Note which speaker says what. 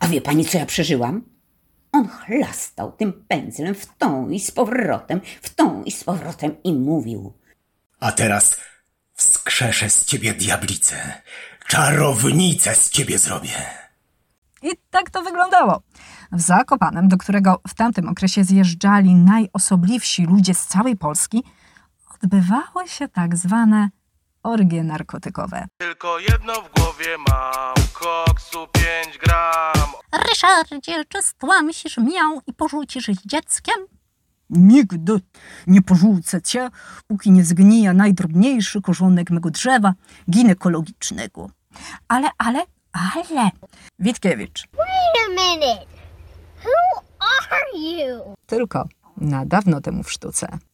Speaker 1: A wie pani, co ja przeżyłam? On chlastał tym pędzlem w tą i z powrotem, w tą i z powrotem i mówił.
Speaker 2: A teraz wskrzeszę z ciebie diablicę. Czarownicę z ciebie zrobię.
Speaker 3: I tak to wyglądało. W Zakopanem, do którego w tamtym okresie zjeżdżali najosobliwsi ludzie z całej Polski, odbywały się tak zwane orgie narkotykowe.
Speaker 4: Tylko jedno w głowie mam, koksu 5 gram.
Speaker 5: Ryszardzie, czy stłamsisz miał i porzucisz z dzieckiem?
Speaker 3: Nigdy nie porzucę cię, póki nie zgnija najdrobniejszy korzonek mego drzewa ginekologicznego. Ale, ale, ale. Witkiewicz.
Speaker 6: Wait a minute. Who are you?
Speaker 3: Tylko na dawno temu w sztuce.